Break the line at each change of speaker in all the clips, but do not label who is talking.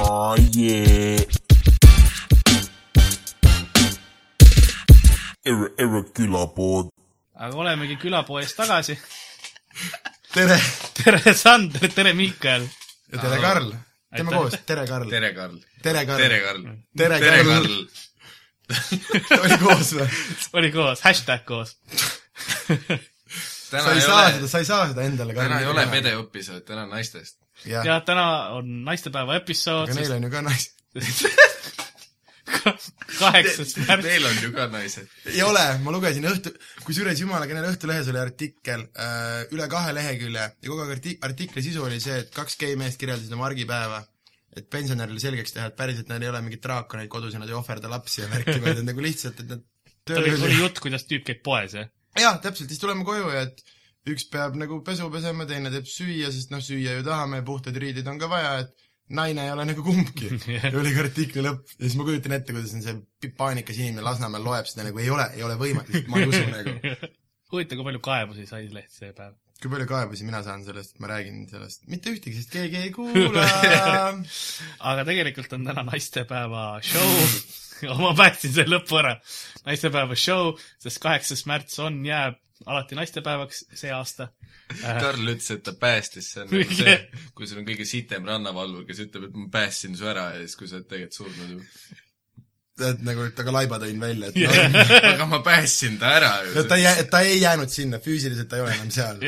Oh yeah. Erre, erre külapod.
aga olemegi külapoes tagasi .
tere
tere , Sander , tere , Mihkel .
ja tere , Karl . teeme
Aitäh.
koos , tere , Karl .
tere , Karl .
tere ,
tere ,
Karl .
Karl .
Tere,
tere ,
Karl.
Karl .
oli koos või ?
oli koos , hashtag koos .
sa
täna
ei
ei
saa seda ,
ole ,
sa ei saa seda endale .
täna ei ole . pedeepisood , täna on naistest .
jah ,
ja täna on naistepäeva episood ,
aga neil on ju ka nais- .
kaheksas märts .
Teil on ju ka naised .
ei ole , ma lugesin õhtu , kusjuures jumala kena Õhtulehes oli artikkel äh, , üle kahe lehekülje ja kogu aeg artik- , artikli sisu oli see , et kaks gei meest kirjeldasid oma argipäeva , et pensionärile selgeks teha , et päriselt neil ei ole mingeid draakoneid kodus ja nad ei ohverda lapsi ja värki , vaid on nagu lihtsalt , et nad
oli , oli
tööl
jutt , kuidas tüüp käib poes , jah ?
jah , täpselt , siis tuleme koju ja et üks peab nagu pesu pesema , teine teeb süüa , sest noh , süüa ju tahame , puhtaid riideid on ka vaja , et naine ei ole nagu kumbki . ja oli ka artikli lõpp ja siis ma kujutan ette , kuidas on see pi- paanikas inimene Lasnamäel loeb seda nagu ei ole , ei ole võimalik , ma ei usu nagu .
huvitav , kui palju kaebusi sai leht see päev .
kui palju kaebusi mina saan sellest , et ma räägin sellest , mitte ühtegi , sest keegi ei kuula .
aga tegelikult on täna naistepäeva show . ma päästsin selle lõpu ära . naistepäeva show , sest kaheksas märts on , jääb alati naistepäevaks see aasta .
Karl ütles , et ta päästis , see on nagu see , kui sul on kõige sitem rannavalvur , kes ütleb , et ma päästsin su ära ja siis , kui sa oled tegelikult surnud ju .
et nagu , et aga laiba tõin välja , et yeah.
aga ma päästsin ta ära
no,
ju
et . ta ei , ta ei jäänud sinna , füüsiliselt ta ei ole enam seal .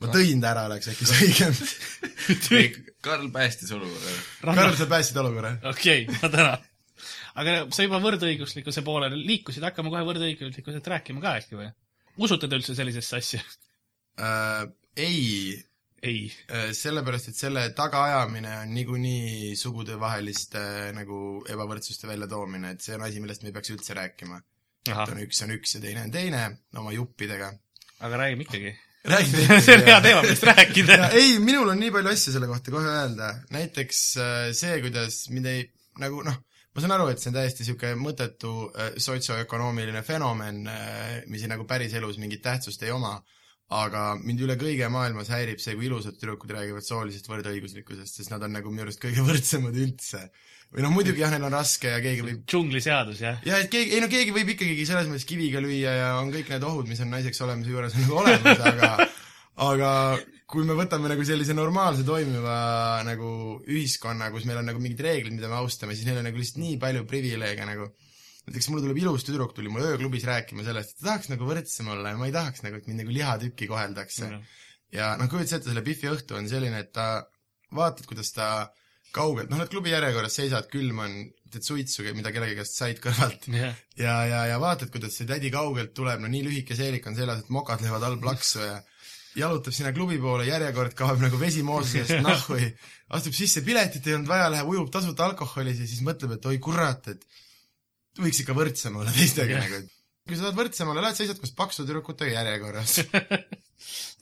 ma tõin ta ära , oleks äkki see õigem .
ei , Karl päästis olukorra ära .
Karl , sa päästsid olukorra ?
okei , ma tänan . aga sa juba võrdõiguslikkuse poolele liikusid , hakkame kohe võrdõiguslikkuselt rääkima ka äkki või ? usute te üldse sellisesse asja ?
äh, ? ei ,
ei .
Äh, sellepärast , et selle tagaajamine on niikuinii sugudevaheliste nagu ebavõrdsuste väljatoomine , et see on asi , millest me ei peaks üldse rääkima .
Ah.
et on üks on üks ja teine on teine oma juppidega .
aga räägime ikkagi .
räägi
see on hea teema , millest rääkida .
ja ei , minul on nii palju asju selle kohta kohe öelda , näiteks äh, see , kuidas mind ei , nagu noh , ma saan aru , et see on täiesti niisugune mõttetu äh, sotsioökonoomiline fenomen , mis ei, nagu päriselus mingit tähtsust ei oma , aga mind üle kõige maailmas häirib see , kui ilusad tüdrukud räägivad soolisest võrdõiguslikkusest , sest nad on nagu minu arust kõige võrdsemad üldse . või noh , muidugi jah , neil on raske ja keegi võib
džungliseadus , jah ?
ja et keegi , ei no keegi võib ikkagi selles mõttes kiviga lüüa ja on kõik need ohud , mis on naiseks olemise juures on nagu olemas , aga aga kui me võtame nagu sellise normaalse toimiva nagu ühiskonna , kus meil on nagu mingid reeglid , mida me austame , siis neil on nagu lihtsalt nii palju privileege nagu näiteks mulle tuleb ilus tüdruk , tuli mulle ööklubis rääkima sellest , et ta tahaks nagu võrdsem olla ja ma ei tahaks nagu , et mind nagu lihatükki koheldakse
Mhm.
ja noh , kujuta ette , selle Biffi õhtu on selline , et ta , vaatad , kuidas ta kaugelt , noh , nad klubi järjekorras seisavad , külm on , teed suitsu , mida kellegi käest said kõrvalt
jah ,
ja , ja , ja vaatad , kuidas see tädi kaugelt tuleb , no nii lühike seelik on seljas , et mokad löövad all plaksu ja jalutab sinna klubi poole , järjekord kaob nagu vesi moosusest nahku ja astub sisse , piletit ei olnud vaja , läheb ujub tasuta alkoholis ja siis mõtleb , et oi kurat , et võiks ikka võrdsem olla teistega
Jah.
nagu , et kui sa tahad võrdsem olla , lähed seisad koos paksu tüdrukutega järjekorras .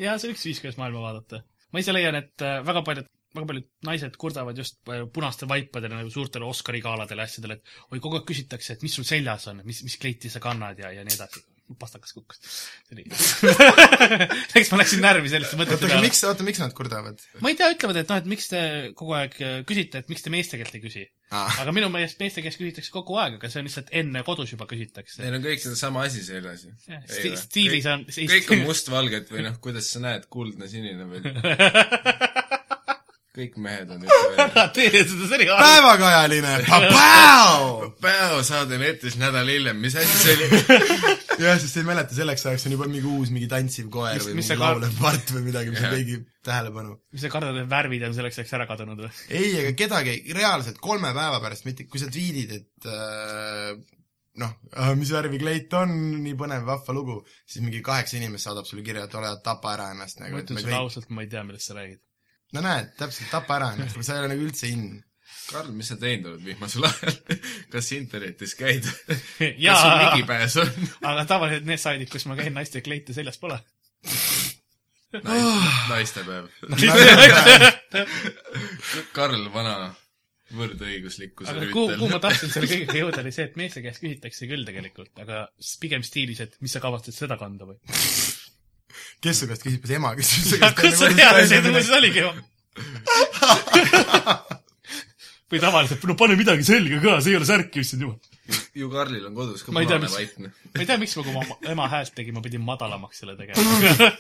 ja see on üks viis , kuidas maailma vaadata . ma ise leian , et äh, väga paljud , väga paljud naised kurdavad just äh, punaste vaipadele nagu suurtele Oscari galadele ja asjadele , et oi , kogu aeg küsitakse , et mis sul seljas on , mis , mis kleiti sa kannad ja , ja nii edasi . pastakas kukkus . see oli , eks ma läksin närvi selliste mõtete
oota , aga
peale .
miks , oota , miks nad kurdavad ?
ma ei tea , ütlevad , et noh , et miks te kogu aeg äh, küsite , et miks te meeste käest ei küsi . aga minu meelest meeste käest küsitakse kogu aeg , aga see on lihtsalt enne kodus juba küsitakse .
Neil on kõik sedasama asi seljas ju .
Jah, sti- stiilis on- ei-
kõik on mustvalged või noh , kuidas sa näed , kuldne , sinine või kõik mehed on üldse välja .
ära tee seda , see oli halb .
päevakajaline , papau !
päev saade netis nädal hiljem , mis asi see oli ?
jah , sest ei mäleta , selleks ajaks on juba mingi uus mingi tantsiv koer
Mis- mis
või mingi
see ka-
laulev part või midagi , mis
Jah.
on kõigi tähelepanu .
mis see kardade värvid on selleks ajaks ära kadunud või ?
ei , ega kedagi ei- reaalselt kolme päeva pärast , mitte kui sa tweet'id , et äh, noh , mis värvi kleit on , nii põnev , vahva lugu , siis mingi kaheksa inimest saadab sulle kirja , et ole hea , tapa ära ennast nagu ,
ma
et
ütlen
me
sulle
kõik ,
ausalt , ma ei tea , millest sa räägid .
no näed , täpselt , tapa ära ennast , sa ei ole nagu üldse in .
Karl , mis sa teinud oled vihmasel ajal ? kas internetis käid ? kas sul
jaa ,
ligipääs on ?
aga tavaliselt need saidid , kus ma käin , naiste kleite seljas pole . Ah.
naistepäev . Karl Vana võrdõiguslikkuse
aga kuhu , kuhu ma
rüütel .
tahtsin selle kõigega jõuda , oli see , et meeste käest küsitakse küll tegelikult , aga s- pigem stiilis , et mis sa kavatsed seda kanda või ?
kes su käest nagu küsib , kas ema küsib su
kust sa tead , see muuseas oligi ju . või tavaliselt , no pane midagi selga ka , see ei ole särk , issand jumal .
ju Karlil on kodus ka
Ma ei tea,
punane
mis-
vaipne .
ma ei tea , miks ma , kui ma oma ema häält tegin , ma pidin madalamaks selle tegema .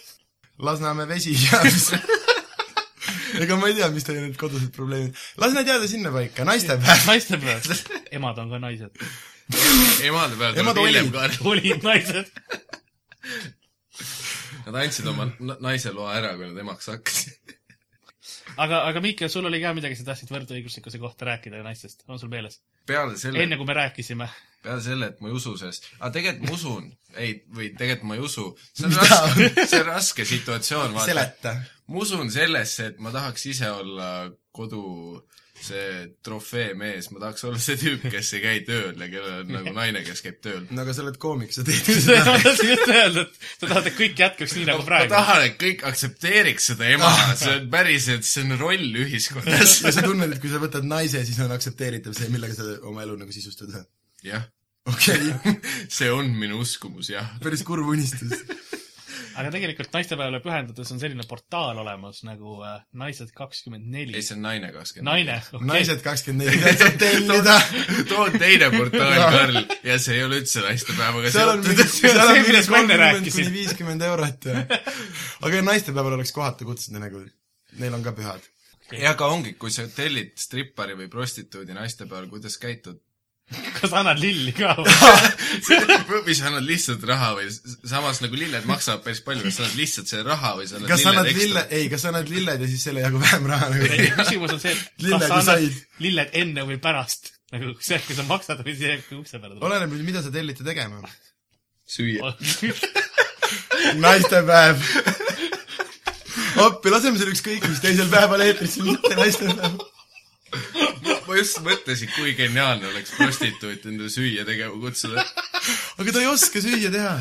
Lasnamäe vesi ja mis ega ma ei tea , mis teil need kodused probleemid , las nad jääda sinna paika , naistepäev .
naistepäev , emad on ka naised ,
emadepäev
Emad
tuleb hiljem
olid.
Karl .
olid naised .
Nad andsid oma na- naise loa ära , kui nad emaks hakkasid .
aga , aga Miika , sul oli ka midagi , sa tahtsid võrdõiguslikkuse kohta rääkida ja naistest , on sul meeles ?
peale selle
enne , kui me rääkisime .
peale selle , et ma ei usu sellest , aga tegelikult ma usun , ei , või tegelikult ma ei usu , see on
Mida?
raske , see on raske situatsioon , vaata .
seleta .
ma usun sellesse , et ma tahaks ise olla kodu see trofeemees , ma tahaks olla see tüüp , kes ei käi tööl ja kellel on nagu naine , kes käib tööl .
no aga sa oled koomik , sa teed ju
ma
seda .
tahtsin just öelda , et sa tahad , et kõik jätkuks nii nagu
ma
praegu .
tahan , et kõik aktsepteeriks seda ema , see on päriselt , see on roll ühiskonnas .
ja sa tunned , et kui sa võtad naise , siis on aktsepteeritav see , millega sa oma elu nagu sisustada saad .
jah ,
okei okay. ,
see on minu uskumus , jah .
päris kurb unistus .
aga tegelikult naistepäevale pühendades on selline portaal olemas nagu äh, naised kakskümmend neli
ei ,. see on naine kakskümmend .
naine , okei .
naised kakskümmend neli , täitsa tellida .
too teine portaal , Karl , ja see ei ole üldse naistepäevaga
seal on
seotud
mingi , .
see on
seal on
see,
mingi
millest ma enne
kolmkümmend
rääkisin.
kuni viiskümmend eurot ja . aga naistepäeval oleks kohatu kutsuda nagu , neil on ka pühad .
ja aga ongi , kui sa tellid strippari või prostituudi naistepäeval , kuidas käitud ?
kas annad lilli ka ?
või sa annad lihtsalt raha või s- samas nagu lilled maksavad päris palju , kas sa annad lihtsalt selle raha või sa
kas sa
annad
annad
lilled
lille
ekstra ?,
ei , kas sa annad lilled ja siis selle jagu vähem raha nagu ?
küsimus on see , et kas
Lilled
sa
ju
annad
said.
lilled enne või pärast ? nagu see , kui sa maksad või see , kui ukse peale tuleb .
oleneb nüüd , mida sa tellite tegema .
Ah.
süüa .
naistepäev . appi , laseme selle ükskõik , mis teisel päeval eetrisse , mitte naistepäev .
ma just mõtlesin , kui geniaalne oleks prostituut endale süüa tegema kutsuda .
aga ta ei oska süüa teha .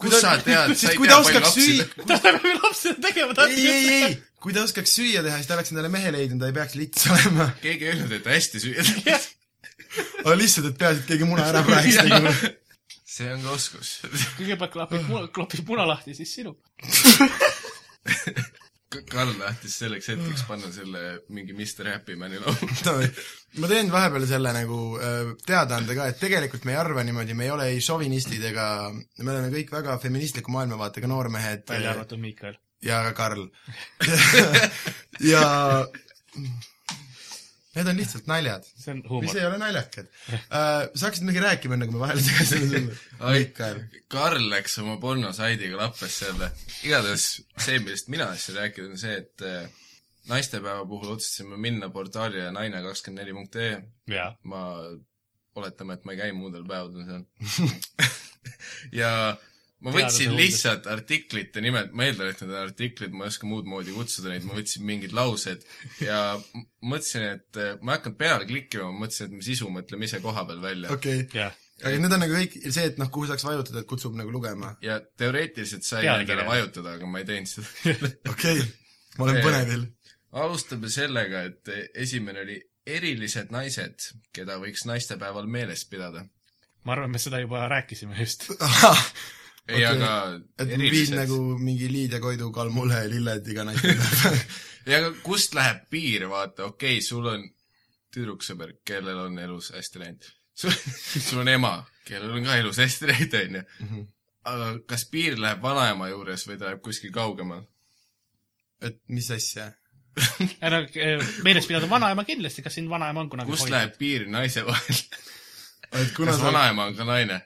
Kust sa tead? Sa
siis
ei
kui
tea,
ta
palju
oskaks
lapsi
süüa ,
ta peab ju lapsed tegema , ta
ei , ei , ei , kui ta oskaks süüa teha , siis ta oleks endale mehe leidnud , ta ei peaks lits olema .
keegi ei öelnud , et ta hästi süüa teeb .
aga lihtsalt , et peaasi , et keegi muna ära praeks tegi .
see on ka oskus .
kõigepealt klapib , klapib muna lahti , siis sinu .
Karl tahtis selleks hetkeks panna selle mingi Mr Happy Man'i laulu .
ma teen vahepeal selle nagu äh, teadaande ka , et tegelikult me ei arva niimoodi , me ei ole ei šovinistid ega , me oleme kõik väga feministliku maailmavaatega noormehed
välja arvatud Miikael .
ja ka Karl . ja need on lihtsalt naljad ,
see on
mis
huumor .
ei ole naljakad äh, . sa hakkasid mingi rääkima , enne kui me vahele segasime . Mikael .
Karl läks oma pornosaidiga lappesse jälle . igatahes see , millest mina tahtsin rääkida , on see , et eh, naistepäeva puhul otsustasime minna portaalile naine24.ee .
jaa .
ma , oletame , et ma ei käi muudel päevadel seal . ja ma võtsin
Teaduse
lihtsalt artiklite nimed , ma eeldan , et need on artiklid , ma ei oska muud moodi kutsuda neid , ma võtsin mingid laused ja m- mõtlesin , et eh, ma ei hakanud peale klikkima , ma mõtlesin , et me sisu mõtleme ise koha peal välja
okei okay. ,
jah .
aga need on nagu kõik see , et noh , kuhu saaks vajutada , et kutsub nagu lugema .
ja teoreetiliselt sai
Pealkirja.
nendele vajutada , aga ma ei teinud seda .
okei okay. , ma olen
Ei.
põnevil .
alustame sellega , et esimene oli erilised naised , keda võiks naistepäeval meeles pidada .
ma arvan , me seda juba rääkisime just .
ei ,
Okei.
aga
et viid
erilised
nagu
nagu... .
mingi Liidia Koidu , Kalmule , Lilled iga naistepäev .
ei , aga kust läheb piir , vaata , okei okay, , sul on tüdruksõber , kellel on elus hästi läinud . sul sul on ema , kellel on ka elus hästi läinud ,
Mhm.
onju . aga kas piir läheb vanaema juures või ta läheb kuskil kaugemal ?
et mis asja ?
ära eh, meeles pidada vanaema kindlasti , kas siin vanaema on kunagi
kust läheb ? piir naise vahel ?
et kuna
kas
sa ,
vanaema on ka naine ?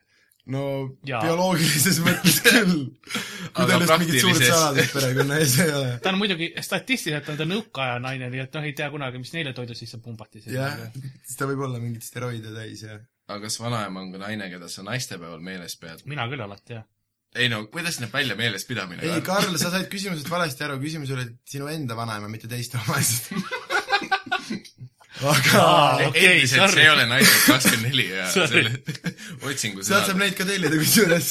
no
Jaa.
ja. bioloogilises mõttes küll . kui
Aga
tal just mingit suurt
praktilises-
saladust perekonna ees ei ole .
ta on muidugi statistiliselt on ta nõukaaja naine , nii et noh , ei tea kunagi , mis neile toidu sisse pumbati . nagu-
jah , siis ta võib olla mingeid steroide täis ja
aga kas vanaema on ka naine , keda sa naistepäeval meeles pead ?
mina küll alati , jah .
ei no , kuidas näeb välja meeles pidamine ?
ei , Karl , sa said küsimusest valesti aru , küsimus oli et sinu enda vanaema , mitte teiste omast . aga
Aa, okei,
endiselt
sorry.
see ei ole naised kakskümmend neli ja
Sorry.
selle otsingu
sealt saab
sõna .
neid ka tellida kusjuures .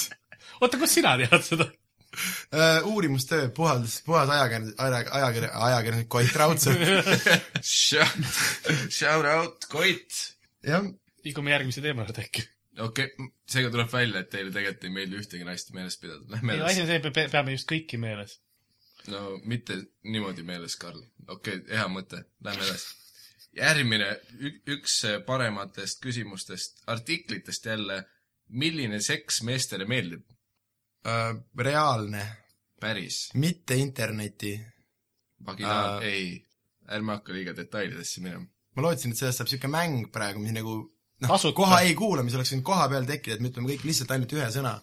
oota , kust sina tead seda ?
Uh, uurimustöö , puhas , puhas ajakirjandus , ajakirja , ajakirjandus , Koit Raudsepp .
Shout out , Koit .
jah ,
liigume järgmise teema juurde äkki .
okei okay, , seega tuleb välja , et teile tegelikult ei meeldi ühtegi naist meeles pidada . Lähme
ei , asi
edasi .
on see , et me peame just kõiki meeles .
no mitte niimoodi meeles , Karl . okei okay, , hea mõte , lähme edasi . järgmine , üks parematest küsimustest , artiklitest jälle . milline seks meestele meeldib ?
äh, reaalne ,
päris ,
mitte interneti .
vaginaal
Äh.
uh... , ei . ärme hakka liiga detailidesse minema .
ma lootsin , et sellest saab niisugune mäng praegu , mis nagu noh
Tasuta. ,
koha ei kuula , mis oleks võinud koha peal tekkida , et me ütleme kõik lihtsalt ainult ühe sõna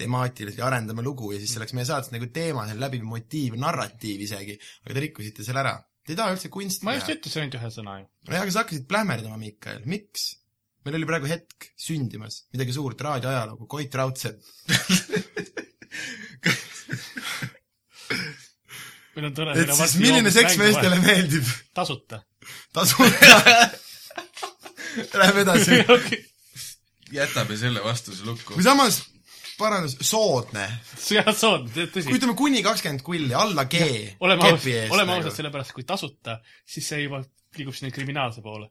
temaatiliselt ja arendame lugu ja
Mm.
siis see oleks meie saates nagu teema , see on läbiv motiiv , narratiiv isegi , aga te rikkusite selle ära . Te ei taha üldse kunsti
ma just
teha .
ütlesin ainult ühe sõna ju .
nojah , aga sa hakkasid plähmerdama , Mikael , miks ? meil oli praegu hetk sündimas , midagi suurt , raadioajalugu , Koit Raudsepp .
meil on tore .
et siis milline seks meestele ? meeldib ?
tasuta .
tasuta . Läheme edasi .
jätame selle vastuse lukku
või . samas , parandus , soodne .
jah , see on , tõsi
kui . ütleme kuni kakskümmend kulli , alla G . nagu.
oleme ausad , oleme ausad , sellepärast kui tasuta , siis see juba liigub sinna kriminaalse poole .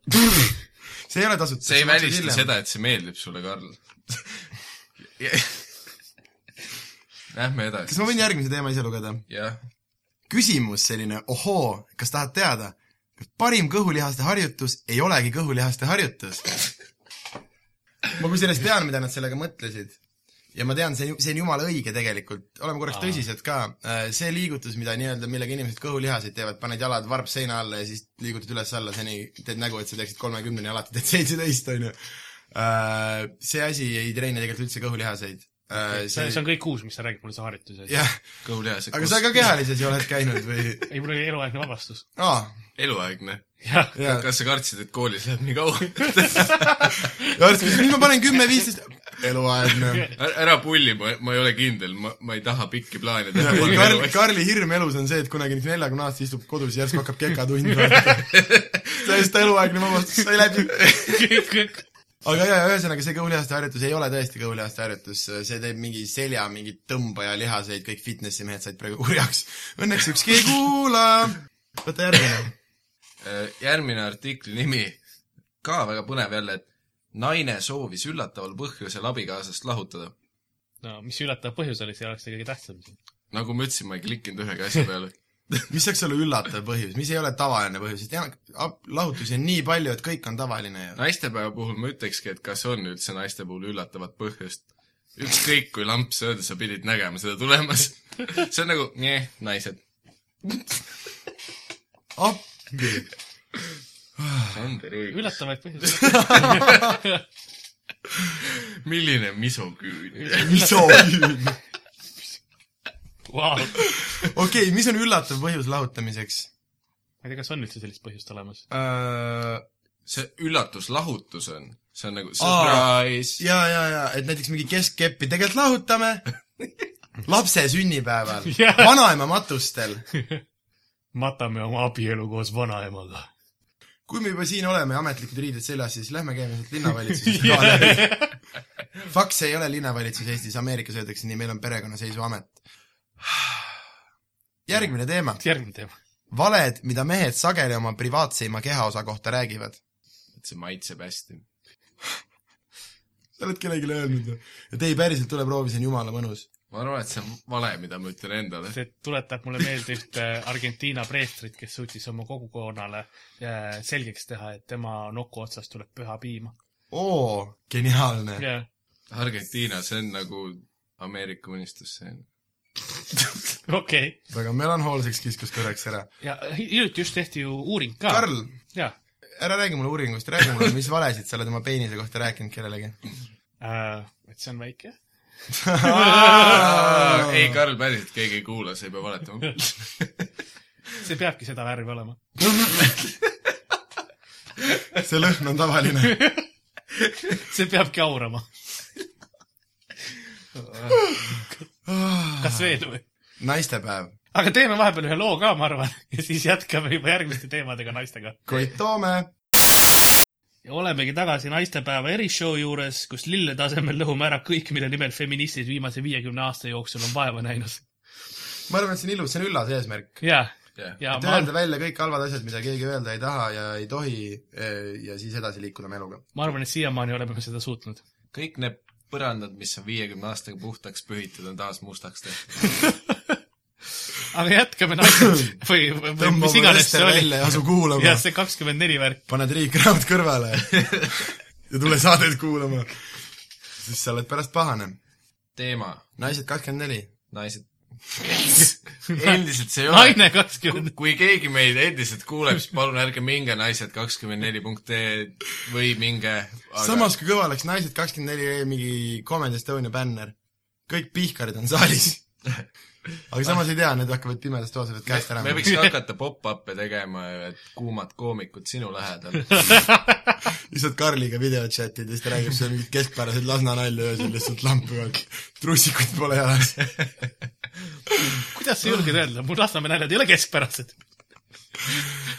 see ei ole tasuta .
see ei välista . seda , et see meeldib sulle , Karl . Lähme edasi
kas . ma võin järgmise teema ise lugeda ?
jah ,
küsimus selline , ohoo , kas tahad teada ? parim kõhulihaste harjutus ei olegi kõhulihaste harjutus . ma kusjuures tean , mida nad sellega mõtlesid . ja ma tean , see , see on jumala õige tegelikult , oleme korraks
Aa.
tõsised ka . see liigutus , mida nii-öelda , millega inimesed kõhulihaseid teevad , paned jalad varb seina alla ja siis liigutad üles-alla , seni teed nägu , et sa teeksid kolmekümneni , alati teed seitseteist , onju . see asi ei treeni tegelikult üldse kõhulihaseid .
see , see on kõik uus , mis sa räägid mulle , see harjutus .
jah ,
kõhulihased .
aga sa ka kehalises ju oled käinud või ?
ei , mul oli eluaegne vabastus .
aa ,
eluaegne .
jah ,
jaa .
kas sa kartsid , et koolis läheb nii kaua ?
järsku , nüüd ma panen kümme-viisteist , eluaegne .
ära pulli , ma , ma ei ole kindel , ma , ma ei taha pikki plaane teha
Karl ,. Karli hirm elus on see , et kunagi nüüd neljakümne aastas istub kodus ja järsku hakkab kekatund vaata . täiesti eluaegne vabastus sai läbi .
kõik ,
aga jaa , ühesõnaga see kõhulihaste harjutus ei ole tõesti kõhulihaste harjutus , see teeb mingi selja mingit tõmbaja lihaseid , kõik fitnessi mehed said praegu kurjaks . Õnneks ükski ei kuula . võta järgmine .
Äh, järgmine artikli nimi , ka väga põnev jälle , et naine soovis üllataval põhjusel abikaasast lahutada .
no mis üllatav põhjus oli , see oleks see kõige tähtsam .
nagu ma ütlesin , ma ei klikkinud ühegi asja peale .
mis saaks olla üllatav põhjus , mis ei ole tavaline põhjus , sest enam- ab- lahutusi on nii palju , et kõik on tavaline ju .
naistepäeva puhul ma ütlekski , et kas on üldse naiste puhul üllatavat põhjust . ükskõik kui lamps öelda , sa pidid nägema seda tulemas . see on nagu , naised .
Ah, appi
üllatavaid põhjuseid .
milline misoküün .
misogüün .
Vau , ma
okei okay, , mis on üllatav põhjus lahutamiseks
ei tea , kas on üldse sellist põhjust olemas .
Äh,
uh, ?
see üllatuslahutus on , see on nagu
Aa.
surprise .
ja , ja , ja , et näiteks mingi keskkeppi tegelikult lahutame lapse sünnipäeval
Jah.
yeah. , vanaema matustel .
matame oma abielu koos vanaemaga .
kui me juba siin oleme ja ametlikud riided seljas , siis lähme käime sealt linnavalitsusest ka läbi . Faks ei ole linnavalitsus Eestis , Ameerikas öeldakse nii , meil on perekonnaseisuamet . järgmine teema ,
järgmine teema .
valed , mida mehed sageli oma privaatseima kehaosa kohta räägivad .
see maitseb hästi .
sa oled kellelegi öelnud või ? et ei , päriselt tule proovi , see on jumala mõnus .
ma arvan , et see on vale , mida ma ütlen endale .
see tuletab mulle meelde ühte Argentiina preestrit , kes suutis oma kogukonnale äh, selgeks teha , et tema noku otsast tuleb püha piima .
oo , geniaalne yeah. .
jah ,
Argentiina , see on nagu Ameerika unistus , see on .
okei .
väga melanhoolseks kiskus korraks ära .
ja äh, hiljuti just tehti ju uuring ka .
Karl ,
jah
ära räägi mulle uuringust , räägi mulle , mis valesid sa oled oma peenise kohta rääkinud kellelegi .
äh, , et see on väike .
ei , Karl , päriselt keegi ei kuula , sa ei pea valetama .
see peabki seda värvi olema .
see lõhn on tavaline .
see peabki aurama . kas veel või ?
naistepäev .
aga teeme vahepeal ühe loo ka , ma arvan , ja siis jätkame juba järgmiste teemadega naistega .
Koit Toome .
ja olemegi tagasi naistepäeva erishow juures , kus lille tasemel lõhume ära kõik , mille nimel feministid viimase viiekümne aasta jooksul on vaeva näinud .
ma arvan , et see on ilus , see on üllas eesmärk .
ja ,
jah ,
ja
et
ma,
öelda välja kõik halvad asjad , mida keegi öelda ei taha ja ei tohi eh, ja siis edasi liikuda oma eluga .
ma arvan , et siiamaani oleme me seda suutnud .
kõik need põrandad , mis on viiekümne aastaga puhtaks pühitud , on taas mustaks tehtud .
aga jätkame naised või , või mis
tõmbame
iganes see
Ester
oli .
välja ja asu kuulama
jah ,, see kakskümmend neli värk .
pane triikraamid kõrvale ja tule saadet kuulama . siis sa oled pärast pahane .
teema ,
naised kakskümmend neli .
naised endiselt see ei ole .
naine kakskümmend ,
kui keegi meid endiselt kuuleb , siis palun ärge minge naised kakskümmend neli punkt ee või minge aga...
samas , kui kõva oleks Naised kakskümmend neli eh, mingi Comedy Estonia bänner . kõik pihkarid on saalis . aga samas ei tea , need hakkavad pimedas toas , võivad käest ära
me võiks hakata pop-up'e tegema , et kuumad koomikud sinu lähedal .
lihtsalt Karliga videochat'id ja siis ta räägib sulle mingit keskpäraseid Lasna nalju öösel lihtsalt lampi peal . trussikud pole jalas .
kuidas sa julged öelda , mul Lasnamäe naljad ei ole keskpärased .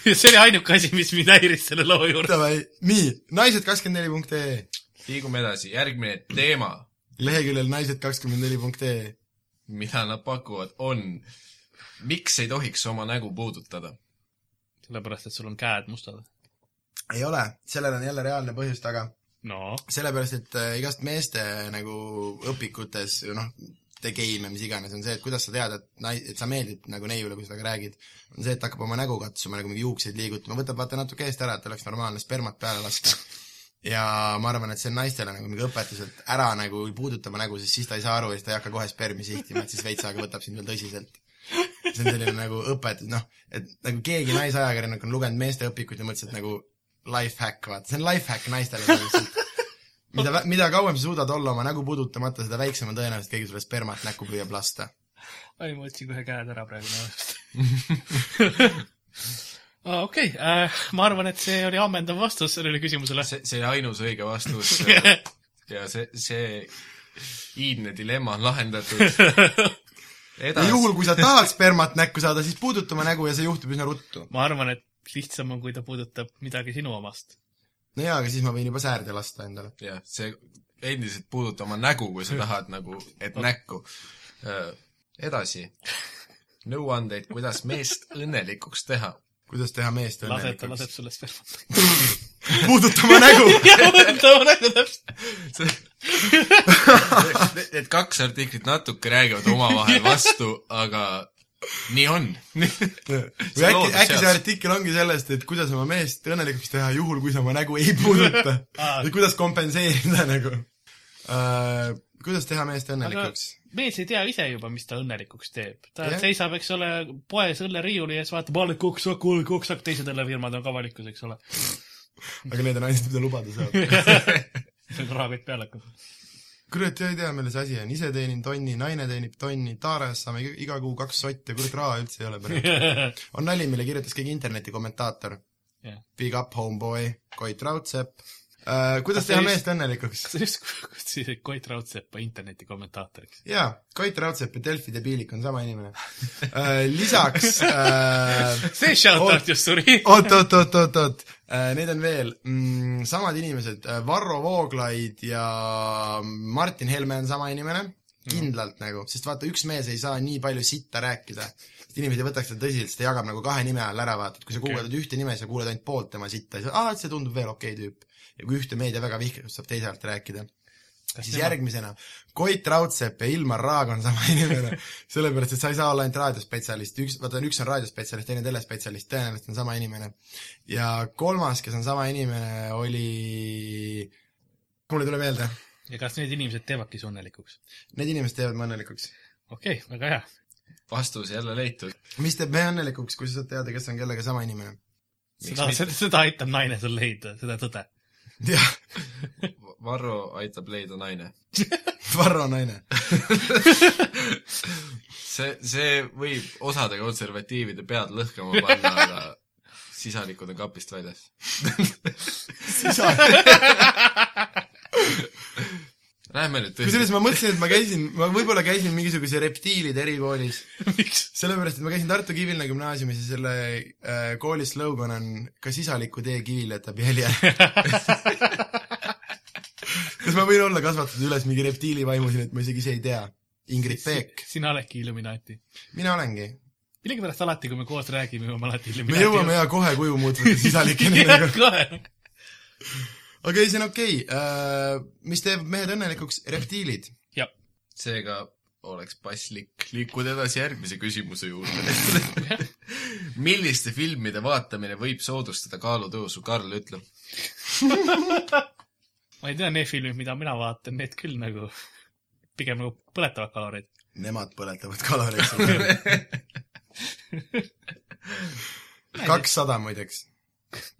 ja see oli ainuke asi , mis mind häiris selle loo juures .
Davai , nii , naised kakskümmend neli punkt ee ,
liigume edasi , järgmine teema ,
leheküljel naised kakskümmend neli punkt ee .
mida nad pakuvad , on miks ei tohiks oma nägu puudutada ?
sellepärast , et sul on käed mustad .
ei ole , sellel on jälle reaalne põhjus taga
no ,
sellepärast , et äh, igast meeste nagu õpikutes või noh , the game ja mis iganes , on see , et kuidas sa tead , et nai- , et sa meeldid nagu neiule , kui sa temaga räägid , on see , et ta hakkab oma nägu katsuma , nagu mingi juukseid liigutama , võtab vaata natuke eest ära , et oleks normaalne spermat peale lasta . ja ma arvan , et see on naistele nagu mingi õpetus , et ära nagu ei puuduta oma nägu , sest siis ta ei saa aru ja siis ta ei hakka kohe spermi sihtima , et siis veits aega võtab sind veel tõsiselt see on selline nagu õpetus , noh , et nagu keegi naisajakirjanik on lugenud meeste õpikuid ja mõtles , et nagu life hack , vaata , see on life hack naistele nagu, põhimõtteliselt . mida , mida kauem sa suudad olla oma nägu puudutamata , seda väiksem on tõenäoliselt keegi sulle spermat näkku püüab lasta .
ai , ma võtsin kohe käed ära praegu näost ah, . okei okay. , ma arvan , et see oli ammendav vastus sellele küsimusele .
see , see ainus õige vastus ja see , see iidne dilemma on lahendatud .
ja
edasi ,
juhul , kui sa tahad spermat näkku saada , siis puuduta oma nägu ja see juhtub üsna ruttu .
ma arvan , et lihtsam on , kui ta puudutab midagi sinu omast .
no jaa , aga siis ma võin juba säärde lasta endale .
jah , see endiselt puuduta oma nägu , kui sa tahad nagu , et näkku . edasi , nõuandeid , kuidas meest õnnelikuks teha .
kuidas teha meest
lased , ta
õnnelikuks
laseb ? sulle spermat .
puuduta oma nägu .
jah , ta on nagu täpselt .
Need kaks artiklit natuke räägivad omavahel vastu , aga nii on .
või
See on
äkki ,
loodud
äkki see
seadus.
artikkel ongi sellest , et kuidas oma meest õnnelikuks teha , juhul kui sa oma nägu ei puuduta
Aa.
või kuidas kompenseerida nagu uh, . kuidas teha meest õnnelikuks ?
mees ei tea ise juba , mis ta õnnelikuks teeb . ta
Jah.
yeah. seisab , eks ole , poes õlleriiuli ees , vaatab , ole koksak , ole koksak , teised õllefirmad on ka valikus , eks ole .
aga need on ainult , mida lubada saab .
see on rahakott peal hakkab .
kurat , ja ei tea , milles asi on , ise teenin tonni , naine teenib tonni , taares saame iga- iga kuu kaks sotti , kurat raha üldse ei ole praegu . on nali , mille kirjutas keegi interneti kommentaator .
Jah.
Big up homeboy , Koit Raudsepp uh, .
Kas
kuidas
see
teha
just-
meest õnnelikuks ?
kas sa just kutsusid Koit Raudsepa interneti kommentaatoriks ?
jaa , Koit Raudsepp ja Delfi debiilik on sama inimene uh, . lisaks uh,
see shout-out
Oot-
just suri .
oot , oot , oot , oot , oot , neid on veel mm, , samad inimesed , Varro Vooglaid ja Martin Helme on sama inimene , kindlalt nagu , sest vaata , üks mees ei saa nii palju sitta rääkida . sest inimesed ei võtaks seda tõsiselt , sest ta jagab nagu kahe nime all ära , vaata , et kui sa
Okei.
guugeldad ühte nime , sa kuuled ainult poolt tema sitta , siis aa , see tundub veel okei okay, tüüp . ja kui ühte meedia väga vihkab , siis saab teise alt rääkida . siis
tema-
järgmisena , Koit Raudsepp ja Ilmar Raag on sama inimene , sellepärast et sa ei saa olla ainult raadiospetsialist , üks , vaata , üks on raadiospetsialist , teine telespetsialist , tõenäoliselt on sama inimene . ja kolmas , kes on sama inimene , oli , mul ei tule meelde ,
ja kas need inimesed teevadki su õnnelikuks ?
need inimesed teevad mu õnnelikuks .
okei okay, , väga hea .
vastus jälle leitud .
mis teeb me õnnelikuks , kui sa saad teada , kes on kellega sama inimene ?
seda , seda, seda aitab naine sul leida , seda tõde .
jah ,
Varro aitab leida naine .
Varro naine .
see , see võib osade konservatiivide pead lõhkema panna , aga sisalikud on kapist väljas . Lähme nüüd
kusjuures
tõesti .
ma mõtlesin , et ma käisin , ma võib-olla käisin mingisuguse reptiilide erikoolis ,
miks ?
sellepärast et ma käisin Tartu Kivilna gümnaasiumis ja selle äh, kooli slogan on ka sisaliku tee kivil jätab jälje . kas ma võin olla kasvatatud üles mingi reptiili vaimuseni , et ma isegi ise ei tea ? Ingrid Peek ,
sina oledki Illuminaati .
mina olengi .
millegipärast alati , kui me koos räägime , jõuame alati
me
Illuminaati .
jõuame ja kohe kuju muutvate sisalikeni
jah
nagu. ,
kohe .
aga Äh, ei , see on okei okay. . mis teeb mehed õnnelikuks ? reptiilid .
jah ,
seega oleks paslik liikuda edasi järgmise küsimuse juurde . milliste filmide vaatamine võib soodustada kaalutõusu , Karl ütleb .
ma ei tea , need filmid , mida mina vaatan , need küll nagu pigem nagu põletavad kaloreid .
Nemad põletavad kaloreid . kakssada muideks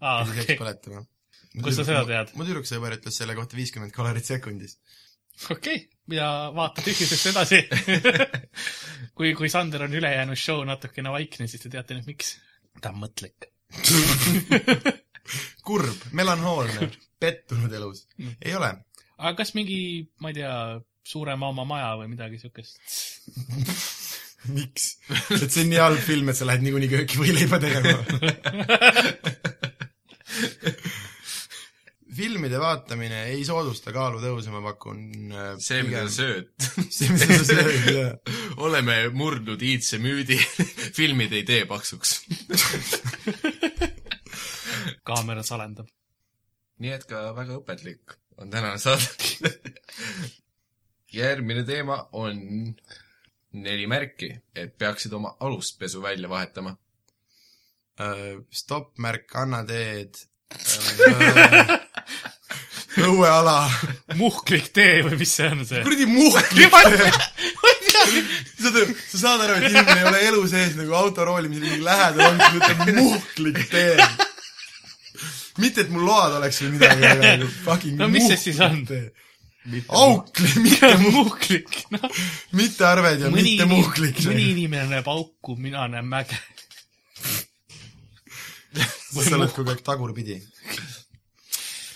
aa ,
pidi
okei
peaks , põletama .
Kust sa seda tead?
mu tüdruksõber ütles selle kohta viiskümmend kalorit sekundis .
okei , mina vaatan tühjusesse edasi . kui , kui Sander on ülejäänud show natukene vaikne , siis te teate nüüd miks . ta on mõtlik .
kurb , melanhoolne , pettunud elus .
Mm.
ei ole .
aga kas mingi , ma ei tea , suurema oma maja või midagi siukest ?
miks ? et see on nii halb film , et sa lähed niikuinii kööki võileiba tegema . filmide vaatamine ei soodusta kaalutõusu , ma pakun .
see , mida sa . sööd .
see , mida sa sööd , jah .
oleme murdnud iidse müüdi . filmid ei tee paksuks .
kaamera salendab .
nii et ka väga õpetlik on tänane saade . järgmine teema on neli märki , et peaksid oma aluspesu välja vahetama .
Äh, stopp , märk , anna teed . Äh, õueala .
muhklik tee või mis see on see ?
kuradi muhklik töö . sa tead , sa saad aru , et inimene ei ole elu sees nagu autoroolimisel isegi lähedal olnud , kui ta ütleb muhklik tee . mitte , et mul load oleks või midagi , aga nagu fucking
No mis see siis on?
muhklik tee. aukli , mitte muhklik ,
muhklik , noh .
mitte arved ja
mõni
mitte , muhklik
mõni
tee .
inimene näeb auku , mina näen mäge .
sa oled kogu aeg tagurpidi .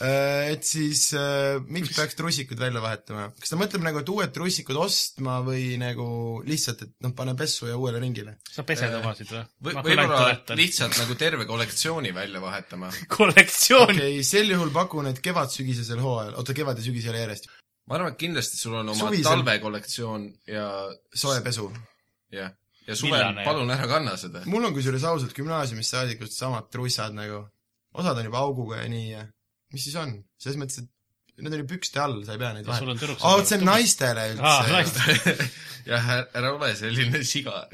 et siis äh, miks peaks trussikud välja vahetama ? kas ta mõtleb nagu , et uued trussikud ostma või nagu lihtsalt , et noh , pane pessu ja uuele ringile ?
sa pesed omasid Äh, või ?
või , võib-olla lihtsalt nagu terve kollektsiooni välja vahetama .
kollektsioon .
okei okay, , sel juhul pakun , et kevad-sügisesel hooajal , oota , kevad ja sügis ei ole järjest ,
ma arvan , et kindlasti sul on oma
Suvisel.
talvekollektsioon ja ,
soe pesu .
jah . ja suvel
Villane, , jah.
palun ära kanna seda .
mul on kusjuures ausalt gümnaasiumist saadikust samad trussad nagu , osad on juba auguga ja nii ja mis siis on , selles mõttes , et need on ju pükste all , sa ei pea neid
sul
vahetama .
on tüdruks .
aa , vot see on . naistele
aa ,
üldse .
naiste .
jah , ära ole selline siga .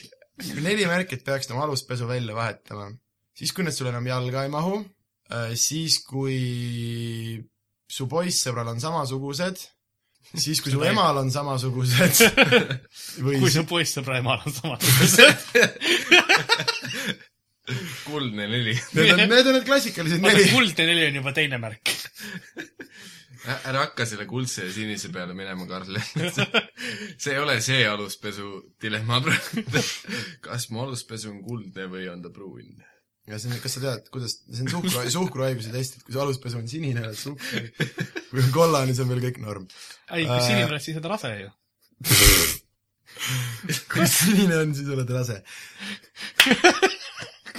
neli märkit peaksid oma nagu aluspesu välja vahetama . siis , kui need sul enam jalga ei mahu , siis kui su poissõbral on samasugused , siis kui su
Seda ei-
emal on samasugused või
kui su poissõbra emal on samasugused .
kuldne neli .
Need on , need on need klassikalised
vaata ,
neli .
kuldne neli on juba teine märk .
ära hakka selle kuldse ja sinise peale minema , Karl . see ei ole see aluspesu dilemma praegu . kas mu aluspesu on kuldne või on ta pruun ?
ja see on , kas sa tead , kuidas , see on suhkru , suhkruhaiguse test , et kui su aluspesu on sinine , oled suhkru . kui on kollane , siis on veel kõik norm .
ei ,
Äh.
kui sinine oleks , siis on ta rase ju .
kui sinine on , siis oled rase .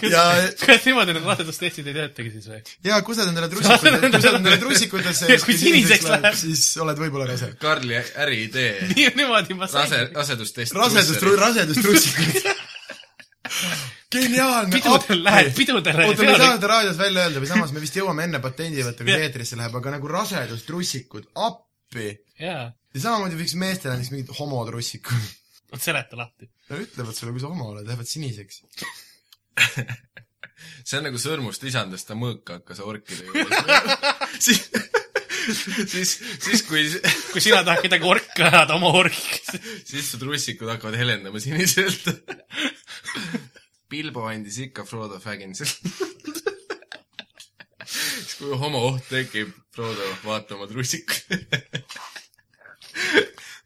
ja ,
kas niimoodi need rasedustestid ei töötagi siis või ?
ja kui sa oled endale trussikud , kui sa oled endale trussikutesse
Kui siniseks läheb.
siis oled võib-olla rase .
Karli äriidee ,
niimoodi ma
rase
sain ,.
rasedustest .
rasedus , rasedustrussikud . geniaalne .
pidudel lähed , pidudele .
oota , me ei saa seda raadios välja öelda või samas me vist jõuame enne patendi võtta , kui see eetrisse läheb , aga nagu rasedustrussikud , appi .
jaa ,
ja samamoodi võiks meestele näiteks mingid homotrussikul .
vot seleta lahti .
Nad ütlevad sulle , kui sa homo oled , lähevad siniseks .
see on nagu sõrmust lisandest , ta mõõka hakkas orkide juures . siis , siis , siis kui ,
kui sina tahad kedagi orka ajada , oma orki .
siis su trussikud hakkavad helendama siniselt . Bilbo andis ikka Frodo Fagginsil . siis kui homooht tekib , Frodo , vaata oma trussikut .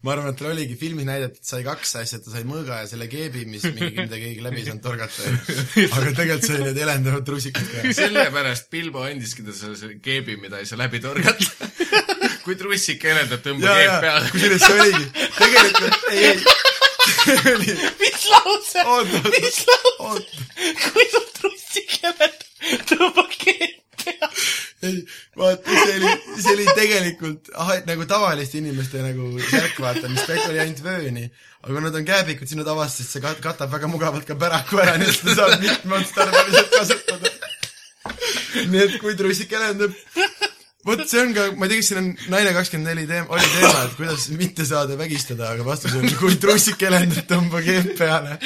ma arvan , et tal oligi filmis näidatud , sai kaks asja , ta sai mõõga ja selle keebi , mis mingi , mida keegi läbi ei saanud torgata . aga tegelikult sai need helendavad trussikud ka .
sellepärast Bilbo andiski ta selle selle keebi , mida ei saa läbi torgata . kui trussik helendab , tõmba
ja ,
keeb
ja
peale .
kusjuures see oligi , tegelikult ei , ei ,
mis lause ,
oot , oot ,
mis lause ,
oot ,
kui sa trussi keeled , tõmbake .
ei , vaata , see oli , see oli tegelikult ah, et nagu tavaliste inimeste nagu särk , vaata , mis tegelikult oli ainult vööni . aga nad on kääbikud , siis nad avastasid , see kat- katab väga mugavalt ka päraku ära , nii et seda saab mitmeotstarbeliselt kasutada . nii et kui trussik helendab , vot see on ka , ma ei tea , kas siin on Naine kakskümmend neli teema , oli teema , et kuidas mitte saada vägistada , aga vastus on , kui trussik helendab , tõmba keeb peale .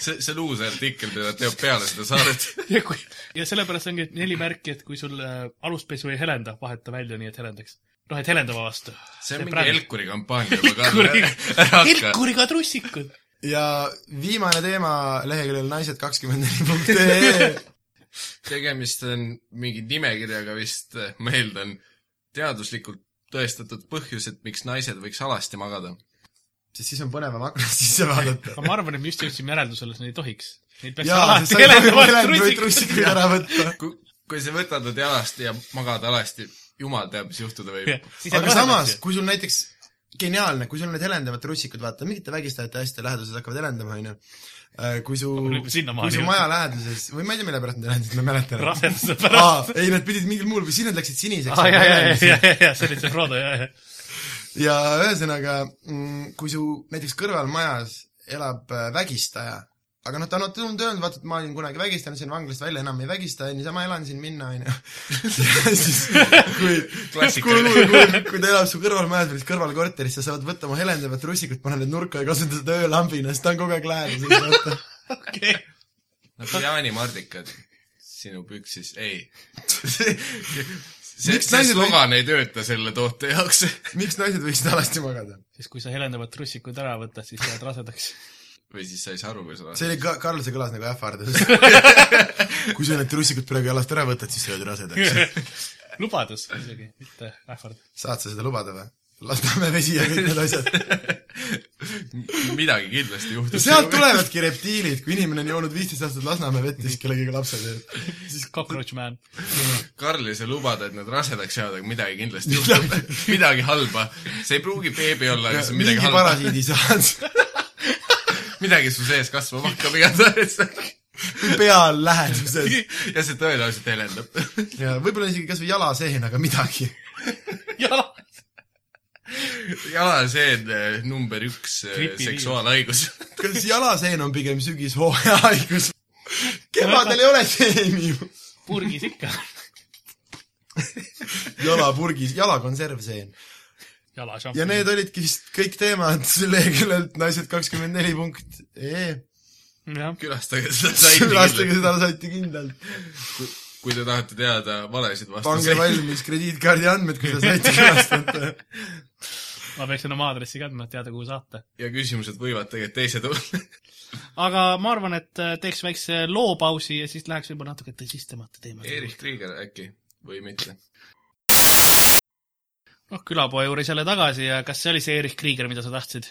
see , see on uus artikkel , mida teeb peale seda saadet .
ja kui , ja sellepärast ongi et neli märki , et kui sul äh, aluspesu ei helenda , vaheta välja nii , et helendaks . noh , et helendava vastu .
see on mingi . Helkuri kampaania juba
Helkuri
ka .,
Helkuriga trussikud .
ja viimane teema leheküljel naised kakskümmend neli punkt ee .
tegemist on mingi nimekirjaga vist , ma eeldan , teaduslikult tõestatud põhjused , miks naised võiks alasti magada .
sest siis on põnevam aknast sisse vaadata .
aga ma arvan , et me just jõudsime järeldusele , et neid ei tohiks . Neid peaks
jaa ,
alati
sa ei tohi
helendama
helendavaid
trussikud .
trussikuid ära võtta .
kui , kui sa võtad nad jalast ja magad alasti , jumal teab , mis juhtuda võib .
aga samas , kui sul näiteks , geniaalne , kui sul need helendavad trussikud , vaata , mingite vägistajate hästi läheduses hakkavad helendama , onju . kui su ,
Võib sinnamaani
kui su
jõuda.
maja läheduses või ma ei tea , mille pärast nad helendasid , ma ei mäleta enam .
raseduse pärast .
Aa, ei , nad pidid mingil muul , siis nad läksid siniseks
aa , ja , ja , ja , ja , ja , ja see oli see Frodo , ja , ja .
ja ühesõnaga , kui su näiteks kõrvalmajas elab äh, vägistaja , aga noh , ta on tulnud öelnud , vaata , et ma olin kunagi vägistanud , sain vanglast välja , enam ei vägista , niisama elan siin minna , onju . siis kui , kui ,
klassikaline .
kui , kui ta elab su kõrvalmajas või siis kõrvalkorteris , sa saad võtta oma helendavat russikut , pane need nurka ja kasuta seda öölambina , siis ta on kogu aeg lähedal .
okei .
nagu jaanimardikad sinu püksis , ei . see ,
Miks
see
naised
slogan ei tööta selle toote jaoks .
miks naised võiksid alasti magada ?
siis , kui sa helendavad trussikud ära võtad , siis jääd rasedaks .
või siis sa ei saa aru , kui sa oled
see . oli ka , Karl , see kõlas nagu ähvardus . kui sa need russikud praegu jalast ära võtad , siis sa oled rasedaks .
lubadus isegi , mitte ähvard .
saad sa seda lubada või ? Lasnamäe vesi ja kõik need asjad .
midagi kindlasti juhtus .
sealt tulevadki reptiilid , kui inimene on joonud viisteist aastat Lasnamäe vett ja siis kellegagi lapse teeb .
siis Cockroach Man .
Karli sa lubad , et nad rasedaks jäävad , aga midagi kindlasti juhtub . midagi halba . see ei pruugi beebi olla , aga see on midagi
mingi
halba .
parasiidi saad ,
midagi su sees kasvama hakkab igatahes .
peal läheduses
ja see tõenäoliselt helendab .
ja võib-olla isegi kasvõi jalaseen , aga midagi .
jala .
jalaseen eh, number üks eh,
Gripiviirus.
seksuaalhaigus .
kas jalaseen on pigem sügishooaja haigus ? kevadel ei ole seeni ju .
purgis ikka .
jalapurgis , jalakonservseen .
jala .
ja need olidki vist kõik teemad leheküljelt naised kakskümmend neli punkt ee .
jah ,
külastage seda
külastage
saiti .
seda saiti kindlalt .
kui te tahate teada valesid
pange
vastuseid .
valmis krediitkaardi andmed , kui te saite külastada .
ma peaksin oma aadressi kandma , et teada , kuhu saata .
ja küsimused võivad tegelikult teised olla .
aga ma arvan , et äh, teeks väikse loopausi ja siis läheks võib-olla natuke tõsisemate teemade
Erich . Krieger äkki või mitte ?
noh , külapoe juures jälle tagasi ja kas see oli see Erich Krieger , mida sa tahtsid ?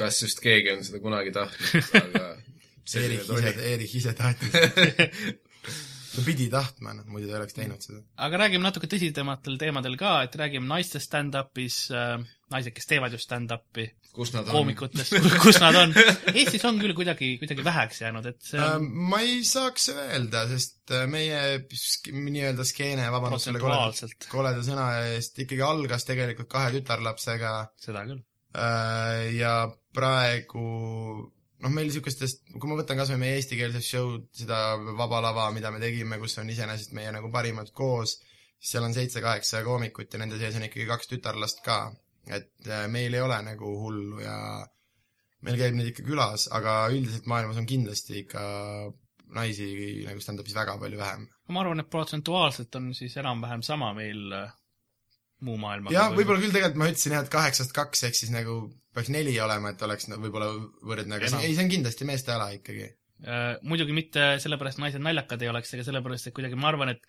kas just keegi on seda kunagi tahtnud , aga selline
Erich ise
tuli .,
Erich ise tahtis . ta pidi tahtma , noh , muidu ta ei oleks teinud seda .
aga räägime natuke tõsisematel teemadel ka , et räägime naiste stand-up'is äh, , naised , kes teevad just stand-up'i ,
kus nad on ?
koomikutest , kus nad on . Eestis on küll kuidagi , kuidagi väheks jäänud , et see on
Äh, ma ei saaks öelda , sest äh, meie sk- nii-öelda skeene , vabandust selle koleda ,
protsentuaalselt ,
koleda sõna eest , ikkagi algas tegelikult kahe tütarlapsega
seda küll .
äh, ja praegu noh , meil niisugustest , kui ma võtan kas või meie eestikeelset show'd , seda Vaba Lava , mida me tegime , kus on iseenesest meie nagu parimad koos , siis seal on seitse-kaheksa koomikut ja nende sees on ikkagi kaks tütarlast ka . et äh, meil ei ole nagu hullu ja meil käib neid ikka külas , aga üldiselt maailmas on kindlasti ikka naisi nagu stand-up'is väga palju vähem .
ma arvan , et protsentuaalselt on siis enam-vähem sama meil äh, muu maailmaga .
jah , võib-olla küll tegelikult ma ütlesin jah , et kaheksast kaks , ehk siis nagu peaks neli olema , et oleks no, võib-olla võrdne , aga see,
Enam.
ei , see on kindlasti meeste ala ikkagi .
Äh, muidugi mitte sellepärast , et naised naljakad ei oleks , aga sellepärast , et kuidagi ma arvan , et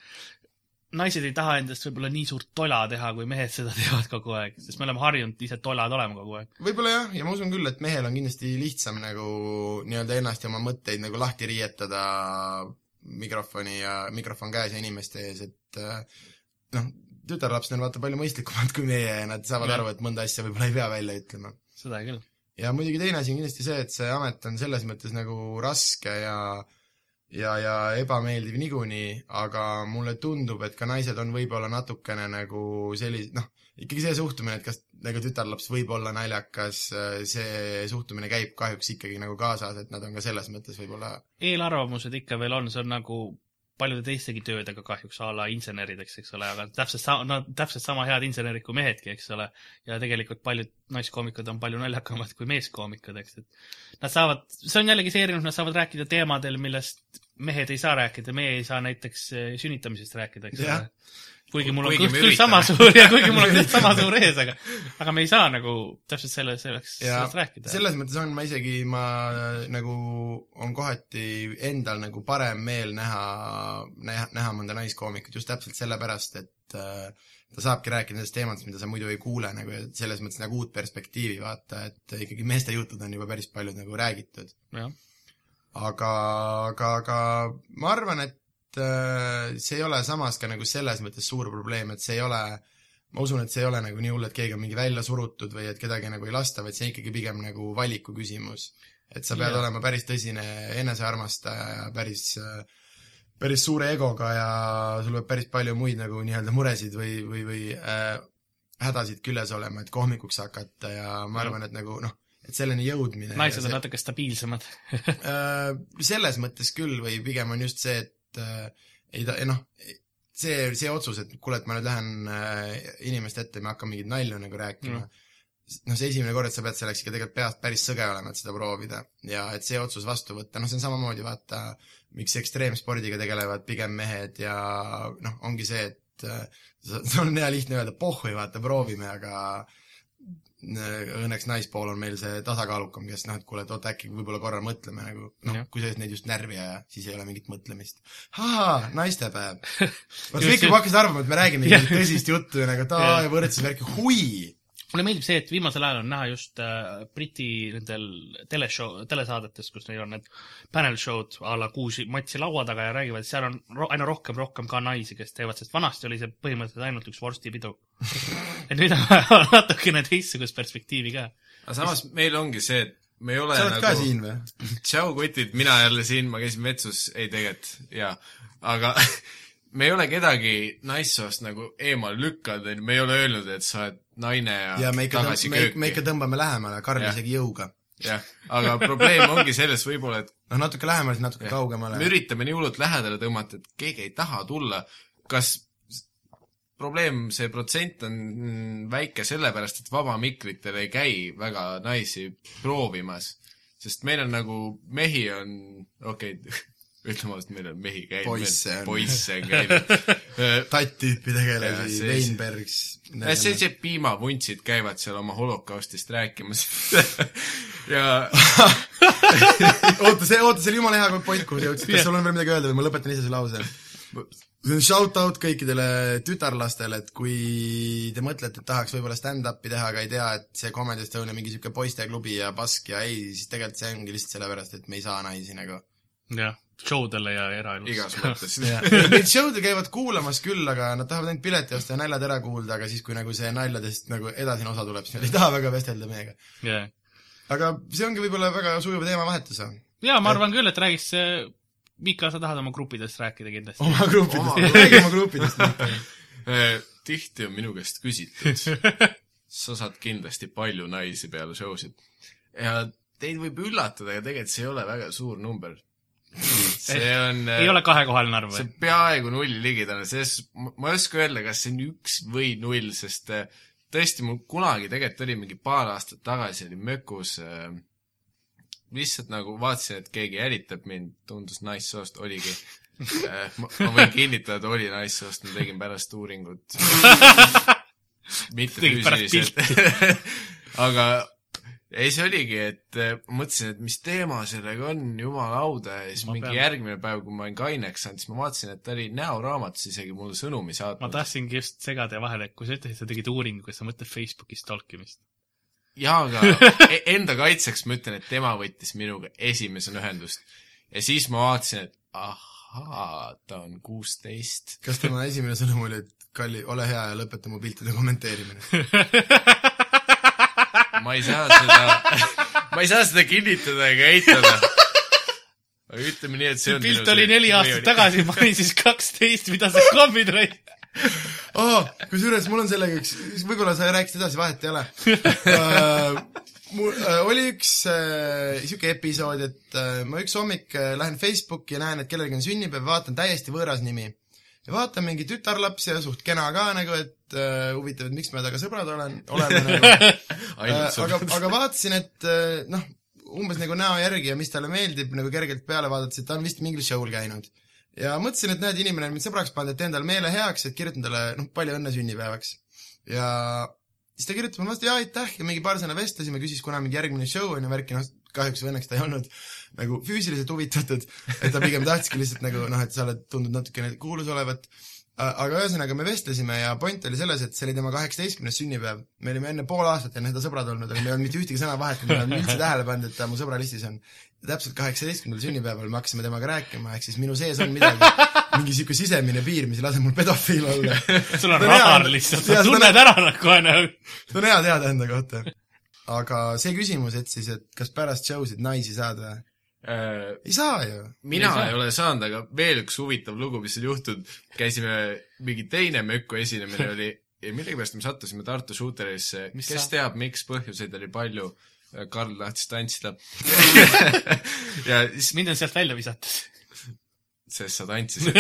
naised ei taha endast võib-olla nii suurt tola teha , kui mehed seda teevad kogu aeg , sest me oleme harjunud ise tolad olema kogu aeg .
võib-olla jah , ja ma usun küll , et mehel on kindlasti lihtsam nagu nii-öelda ennast ja oma mõtteid nagu lahti riietada mikrofoni ja mikrofon käes ja inimeste ees , et äh, noh , tütarlapsed on vaata palju mõistlikumad kui meie ja nad saavad
Jah.
aru , et mõnda asja võib-olla ei pea välja ütlema .
seda küll .
ja muidugi teine asi on kindlasti see , et see amet on selles mõttes nagu raske ja ja , ja ebameeldiv niikuinii , aga mulle tundub , et ka naised on võib-olla natukene nagu sellis- , noh , ikkagi see suhtumine , et kas nagu tütarlaps võib olla naljakas , see suhtumine käib kahjuks ikkagi nagu kaasas , et nad on ka selles mõttes võib-olla
eelarvamused ikka veel on , see on nagu paljude teistegi töödega kahjuks a la insenerideks , eks ole , aga täpselt sama , nad täpselt sama head insenerid kui mehedki , eks ole . ja tegelikult paljud naiskoomikud on palju naljakamad kui meeskoomikud , eks , et nad saavad , see on jällegi see erinevus , nad saavad rääkida teemadel , millest mehed ei saa rääkida , meie ei saa näiteks eh, sünnitamisest rääkida , eks
Jah.
ole . kuigi mul on
Kuigi
kõht
me
küll sama
üritame.
suur ja kuigi mul on kõht sama suur ees , aga , aga me ei saa nagu täpselt selle , selleks ,
ja
sellest rääkida .
selles mõttes on , ma isegi , ma äh, nagu , on kohati endal nagu parem meel näha , näha , näha mõnda naiskoomikut just täpselt sellepärast , et äh, ta saabki rääkida nendest teemadest , mida sa muidu ei kuule nagu ja selles mõttes nagu uut perspektiivi vaata , et ikkagi meeste jutud on juba päris palju nagu räägitud .
Jah.
aga , aga , aga ma arvan , et äh, see ei ole samas ka nagu selles mõttes suur probleem , et see ei ole ma usun , et see ei ole nagu nii hull , et keegi on mingi välja surutud või et kedagi nagu ei lasta , vaid see on ikkagi pigem nagu valiku küsimus . et sa pead
Jaa.
yeah. olema päris tõsine enesearmastaja ja päris , päris suure egoga ja sul peab päris palju muid nagu nii-öelda muresid või , või , või äh, hädasid küljes olema , et kohmikuks hakata ja ma
Jah.
arvan , et nagu noh , et selleni jõudmine .
naised on natuke stabiilsemad .
Äh, selles mõttes küll või pigem on just see , et äh, ei ta , noh , see , see otsus , et kuule , et ma nüüd lähen äh, inimeste ette ja me hakkame mingeid nalju nagu rääkima
Mhm.
mm. noh , see esimene kord , et sa pead selleks ikka tegelikult peast päris sõge olema , et seda proovida ja et see otsus vastu võtta , noh , see on samamoodi vaata , miks ekstreemspordiga tegelevad pigem mehed ja noh , ongi see , et äh, sa- sul on hea lihtne öelda pohhui , vaata , proovime , aga äh, õnneks naispool on meil see tasakaalukam , kes noh , et kuule , et oota , äkki võib-olla korra mõtleme nagu , noh
Jah. ,
kui sa just neid just närvi ei aja , siis ei ole mingit mõtlemist . ahaa , naistepäev . vaata ,
Just
kõik
see-
juba hakkasid arvama , et me räägime
Jah.
mingit tõsist juttu ja nagu , et aa ,
Jah.
ja võrdsusvärk , hui
mulle meeldib see , et viimasel ajal on näha just äh, Briti nendel teleshow , telesaadetes , kus neil on need panel show'd a la kuus matsi laua taga ja räägivad , seal on ro aina rohkem , rohkem ka naisi , kes teevad , sest vanasti oli see põhimõtteliselt ainult üks vorstipidu . et nüüd on vaja natukene teistsugust perspektiivi ka .
aga samas meil ongi see , et me ei ole nagu
sa oled ka siin või ?
tšau kutid , mina jälle siin , ma käisin vetsus , ei tegelikult , jaa . aga me ei ole kedagi naissoost nagu eemale lükkanud , me ei ole öelnud , et sa oled naine ja,
ja me ikka
tagasi ,
me, me ikka
kööki .
tõmbame lähemale , Karl
Jah.
isegi jõuga .
jah , aga probleem ongi selles võib-olla , et
noh , natuke lähemale , siis natuke
Jah.
kaugemale .
me üritame nii hullult lähedale tõmmata , et keegi ei taha tulla . kas s- probleem , see protsent on mm, väike sellepärast , et vabamikritel ei käi väga naisi proovimas , sest meil on nagu mehi on , okei okay, , ütleme ausalt , meil on mehi käinud
Poisse , on.
poisse on käinud . Äh,
tatt-tüüpi
Jah,
tegelasi ,
see-
Veinbergs .
sellised piimavuntsid käivad seal oma holokaustist rääkimas ja
oota , see , oota , see oli jumala hea point , kuhu sa jõudsid ,
Jah.
kas sul on veel midagi öelda või ma lõpetan ise su lause ? Shout out kõikidele tütarlastele , et kui te mõtlete , et tahaks võib-olla stand-up'i teha , aga ei tea , et see Comedy Estonia mingi niisugune poisteklubi ja pask ja ei , siis tegelikult see ongi lihtsalt sellepärast , et me ei saa naisi nagu .
jah , show dele ja eraelus .
igas mõttes .
Neid show'd käivad kuulamas küll , aga nad tahavad ainult pileti osta ja naljad ära kuulda , aga siis , kui nagu see naljadest nagu edasine osa tuleb , siis nad ei taha väga vestelda meiega .
jah .
aga see ongi võib-olla väga sujuv teemavahetus .
ja ma arvan küll , et räägiks , Mika , sa tahad oma gruppidest rääkida kindlasti .
oma
Oma-
gruppidest , räägi oma gruppidest .
Äh, tihti on minu käest küsitud , sa saad kindlasti palju naisi peale show sid . ja teid võib üllatada , aga tegelikult see ei ole väga suur number . see on , äh,
ei ole kahekohaline arv
see
või
on ? peaaegu nulli ligidane , selles , ma ei oska öelda , kas see on üks või null , sest eh, tõesti , mul kunagi tegelikult oli mingi paar aastat tagasi oli mökus äh, lihtsalt nagu vaatasin , et keegi jälitab mind , tundus naissoost , oligi äh, . ma ma võin kinnitada , et oli naissoost , ma tegin pärast uuringut . mitte
Tegid pärast
füüsiliselt . aga ei , see oligi , et äh, mõtlesin , et mis teema sellega on , jumala auda , ja siis
Ma
ma mingi
pean-
pean. järgmine päev , kui ma olin kaineks saanud , siis ma vaatasin , et ta oli näoraamatus isegi mulle sõnumi
ma
saatnud .
tahtsingi just segada ja vahele , kui sa ütlesid , sa tegid uuringu , kas sa mõtled Facebooki stalkimist ?
jaa , aga e- enda kaitseks ma ütlen , et tema võttis minuga esimesena ühendust . ja siis ma vaatasin , et ahaa , ta on kuusteist .
kas tema esimene sõnum oli , et Kalli , ole hea ja lõpeta mu piltide kommenteerimine ?
ma ei saa seda , ma ei saa seda kinnitada ega eitada . aga ütleme nii , et see on
pilt oli neli aastat . tagasi , ma olin siis kaksteist , mida sa kombid ,
oh, kusjuures mul on sellega üks , võib-olla sa rääkisid edasi , vahet ei ole . mul äh, oli üks niisugune episood , et äh, ma üks hommik äh, lähen Facebooki ja näen , et kellelgi on sünnipäev , vaatan täiesti võõras nimi . ja vaatan mingi tütarlaps ja suht kena ka nagu , et äh, huvitav , et miks me temaga sõbrad olen , oleme nagu
ainult
Äh, aga ,
sõbrad .
aga vaatasin , et äh, noh , umbes nagu näo järgi ja mis talle meeldib , nagu kergelt peale vaadates , et ta on vist mingil show'l käinud . ja mõtlesin , et näed , inimene on mind sõbraks pannud , et teen talle meele heaks , et kirjutan talle , noh , palju õnne sünnipäevaks . ja siis ta kirjutas mulle vastu , jaa , aitäh , ja mingi paar sõna vestlesime , küsis , kuna mingi järgmine show on ju , värki , noh , kahjuks või õnneks ta ei olnud nagu füüsiliselt huvitatud , et ta pigem tahtiski lihtsalt nagu noh , et sa oled , tundud natukene kuulus olevat , Äh, aga ühesõnaga me vestlesime ja point oli selles , et see oli tema kaheksateistkümnes sünnipäev . me olime enne pool aastat enne seda sõbrad olnud , aga me ei olnud mitte ühtegi sõna vahetanud , me ei olnud üldse tähele pannud , et ta mu sõbralistis on . ja täpselt kaheksateistkümnendal sünnipäeval me hakkasime temaga rääkima , ehk siis minu sees on midagi , mingi niisugune sisemine piir , mis ei lase mul pedofiil olla .
sul on
Ta on hea-
radar lihtsalt ,
jaa,
sa
ta on-
tunned ära nagu kohe nagu .
see on hea teada enda kohta . aga see küsimus , et siis , et kas pärast show sid naisi saad või ?
Äh,
ei saa ju .
mina
Ei saa.
ei, ei ole saanud , aga veel üks huvitav lugu , mis on juhtunud , käisime , mingi teine Mökku esinemine oli ja millegipärast me sattusime Tartu Shooterisse ,
Mis
kes sa?
sa-
teab , miks , põhjuseid oli palju , Karl tahtis tantsida ja siis ,
mind on sealt välja visatud .
sest sa tantsisid ,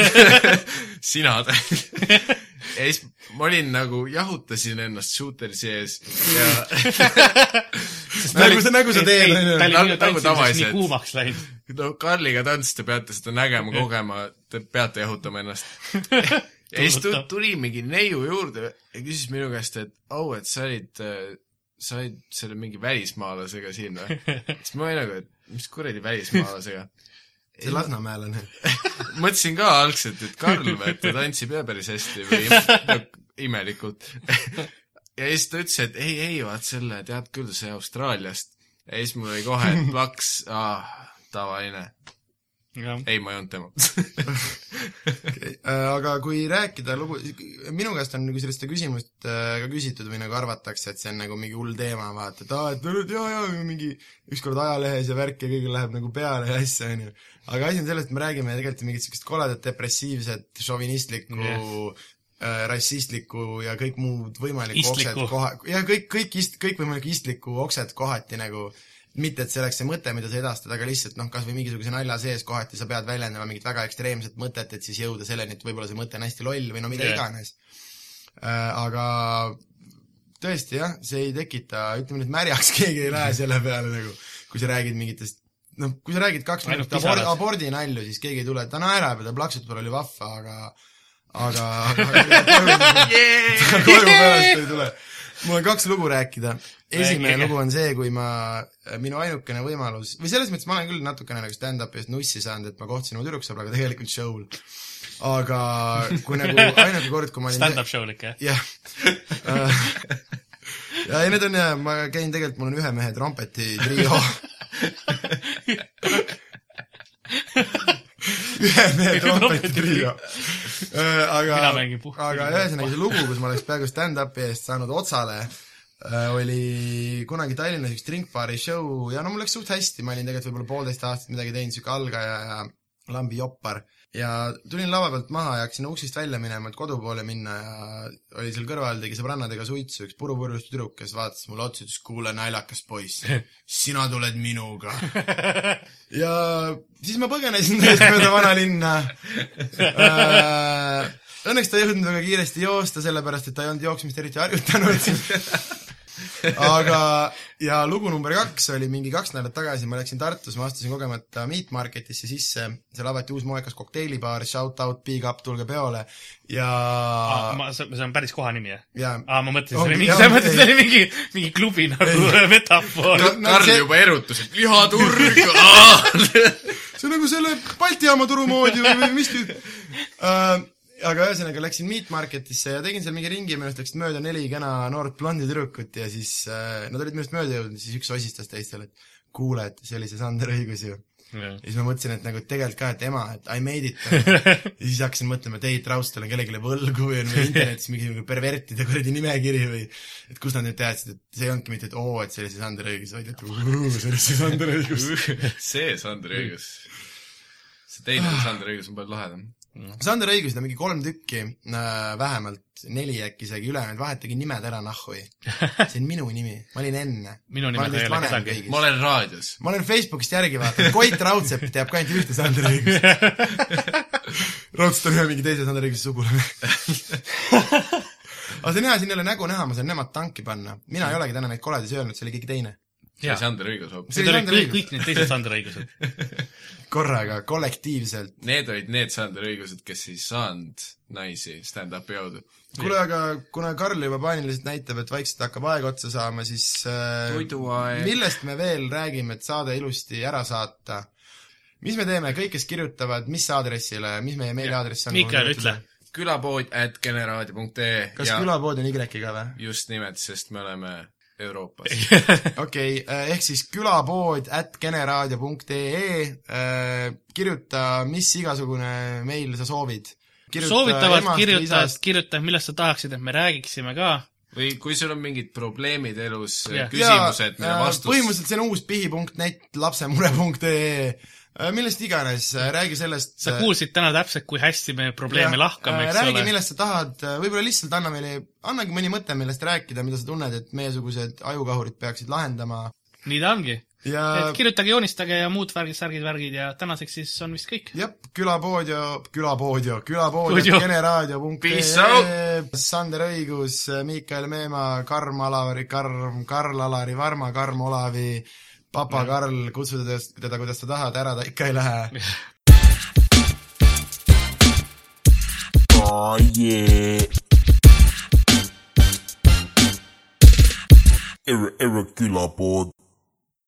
sina tantsid . ja siis ma olin nagu , jahutasin ennast Shooteri sees ja
nagu sa , nagu sa teed , on
ta oli
ju
Nagu-
minu
nagu
tantsimiseks nii
tavaliselt.
kuumaks läinud .
no Karliga tants , te peate seda nägema , kogema , te peate jahutama ennast . ja siis tu-
Tundutav.
tuli mingi neiu juurde ja küsis minu käest , et au , et sa olid , sa olid selle mingi välismaalasega siin või ? siis ma olin nagu , et mis kuradi välismaalasega .
see Lasnamäelane .
mõtlesin ka algselt , et Karl või , et ta tantsib ja päris hästi või im- no, imelikult . ja siis ta ütles , et ei , ei , vaat selle tead küll , see Austraaliast . ja siis mul oli kohe plaks , ah , tavaline . ei , ma ei olnud tema .
Okei, äh, aga kui rääkida lugu , minu käest on nagu sellist küsimust äh, ka küsitud või nagu arvatakse , et see on nagu mingi hull teema , vaata , et aa , et no nüüd jaa , jaa , mingi ükskord ajalehes ja värk ja kõigil läheb nagu peale ja asja , on ju . aga asi on selles , et me räägime tegelikult ju mingit sellist koledat depressiivset , šovinistlikku yes. rassistlikku ja kõik muud võimalikku okset
Istlikku.
koha- , jah , kõik , kõik ist- , kõikvõimalikku istlikku okset kohati nagu mitte , et see oleks see mõte , mida sa edastad , aga lihtsalt noh , kas või mingisuguse nalja sees kohati sa pead väljendama mingit väga ekstreemset mõtet , et siis jõuda selleni , et võib-olla see mõte on hästi loll või no mida
Jah.
yeah. iganes . aga tõesti jah , see ei tekita , ütleme nüüd märjaks keegi ei lähe selle peale nagu , kui sa räägid mingitest noh , kui sa räägid kaks
Ainult
minutit abor- ,
pisarad.
abordinalju , siis keegi ei tule , ta naerab ja ta plaksutab , tal oli vahva , aga aga, aga koju- koju pärast ei tule . mul on kaks lugu rääkida . esimene
Rääkige.
lugu on see , kui ma , minu ainukene võimalus , või selles mõttes ma olen küll natukene nagu stand-up'ist nussi saanud , et ma kohtusin oma tüdruksõbraga tegelikult show'l . aga kui nagu ainuke kord , kui ma olin
Stand-up show'l ikka , jah ?
jah . ja ei , need on jah , ma käin tegelikult , mul on ühe mehe trompeti trio . ühe mehe trompeti trio . aga
Mina , mängin puhk-
aga ühesõnaga see lugu , kus ma oleks peaaegu stand-up'i eest saanud otsale , oli kunagi Tallinnas üks drinkbaari show ja no mul läks suht hästi , ma olin tegelikult võib-olla poolteist aastat midagi teinud , sihuke algaja ja lambi joppar . ja tulin lava pealt maha ja hakkasin uksest välja minema , et kodu poole minna ja oli seal kõrval , tegi sõbrannadega suitsu üks purupurjus tüdruk , kes vaatas mulle otsa , ütles kuule , naljakas poiss , sina tuled minuga . ja siis ma põgenesin täiesti mööda vanalinna äh, . Õnneks ta ei jõudnud väga kiiresti joosta , sellepärast et ta ei olnud jooksmist eriti harjutanud . aga , ja lugu number kaks oli mingi kaks nädalat tagasi , ma läksin Tartus , ma astusin kogemata Meat Marketisse sisse , seal avati uus moekas kokteilibaar , shout out , big up , tulge peole ja
Ah, ma , see on päris koha nimi , jah ?
ja
aa , ma mõtlesin , see
Ongi,
oli mingi ,
jah,
sa mõtlesid , see
ei.
oli mingi , mingi klubi nagu metafoor .
No- no
Karl
see-
juba erutus , et Ah! lihaturg .
see on nagu selle Balti jaama turu moodi või , või mis tüüp uh, . aga ühesõnaga läksin Meat Marketisse ja tegin seal mingi ringi ja minust läksid mööda neli kena noort blondi tüdrukut ja siis uh, nad olid minust mööda jõudnud , siis üks osistas teistele , et kuule , et see oli see Sander Õigus ju . ja siis ma mõtlesin , et nagu et tegelikult ka , et ema , et I made it . ja siis hakkasin mõtlema , et ei , Traust olen kellelegi võlgu või on meil internetis mingi nagu pervertide kuradi nimekiri või et kus nad nüüd teadsid , et see ei olnudki mitte , et oo , et see oli see Sander Õigus , vaid et "Uu, see oli see Sander Õigus . Ah.
see Sander Õigus . see teine Sander Õigus on palju lahedam .
Sander õigus , neid on mingi kolm tükki äh, , vähemalt neli äkki isegi , ülejäänud vahetage nimed ära nahhui . see on minu nimi , ma olin enne .
Minu nime
ma olen
ta ei
teist
ole
vanem
kedagi.
kõigist
ma . olen raadios .
ma olen Facebookist järgi vaadanud , Koit Raudsepp teab ka ainult ühte Sander õigust . raudselt on ühe mingi teise Sander õiguse sugulane . aga see on hea , siin ei ole nägu näha , ma saan nemad tanki panna . mina ei olegi täna neid koledusi öelnud , see oli keegi teine .
see oli Sander Õigus hoopis .
Need
oli
olid
Sander
kõik ,
õigus.
kõik need teised Sander õigused .
korraga , kollektiivselt .
Need olid need Sander Õigused , kes ei saanud naisi stand-up'i jõudu .
kuule , aga kuna Karl juba paaniliselt näitab , et vaikselt hakkab aeg otsa saama , siis äh,
toiduaeg .
millest me veel räägime , et saade ilusti ära saata ? mis me teeme , kõik , kes kirjutavad , mis aadressile , mis meie meiliaadress on ?
Miikael , ütle .
külapood at generaadio.ee
kas
ja
ja.
küla...
külapood on Y-ga või ?
just nimelt , sest me oleme Euroopas .
okei okay, , ehk siis külapood at generaadio.ee , kirjuta , mis igasugune meil sa soovid .
soovitavalt kirjutad , kirjuta , millest sa tahaksid , et me räägiksime ka .
või kui sul on mingid probleemid elus
Jah.
yeah. , küsimused , mille vastus
äh, põhimõtteliselt see on uus pihi.net , lapsemure.ee , Äh, millest iganes , räägi sellest . äh,
sa kuulsid täna täpselt , kui hästi me probleeme lahkame , eks
räägi ,
ole .
millest sa tahad , võib-olla lihtsalt anna meile , annagi mõni mõte , millest rääkida , mida sa tunned , et meiesugused ajukahurid peaksid lahendama
nii ta ongi .
ja
et kirjutage , joonistage ja muud värgid , särgid , värgid ja tänaseks siis on vist kõik .
jah , külapoodio , külapoodio ,
Stuudio.
külapoodio ,
Peace out.
generaadio.ee , Sander Õigus , Miikael Meemaa , Karm Alavari , Karm , Karl-Alari Varma , Karm Olavi , Papa Karl , kutsu teda , teda kuidas sa tahad , ära ta ikka ei lähe .
Oh yeah. Ir- irregular board.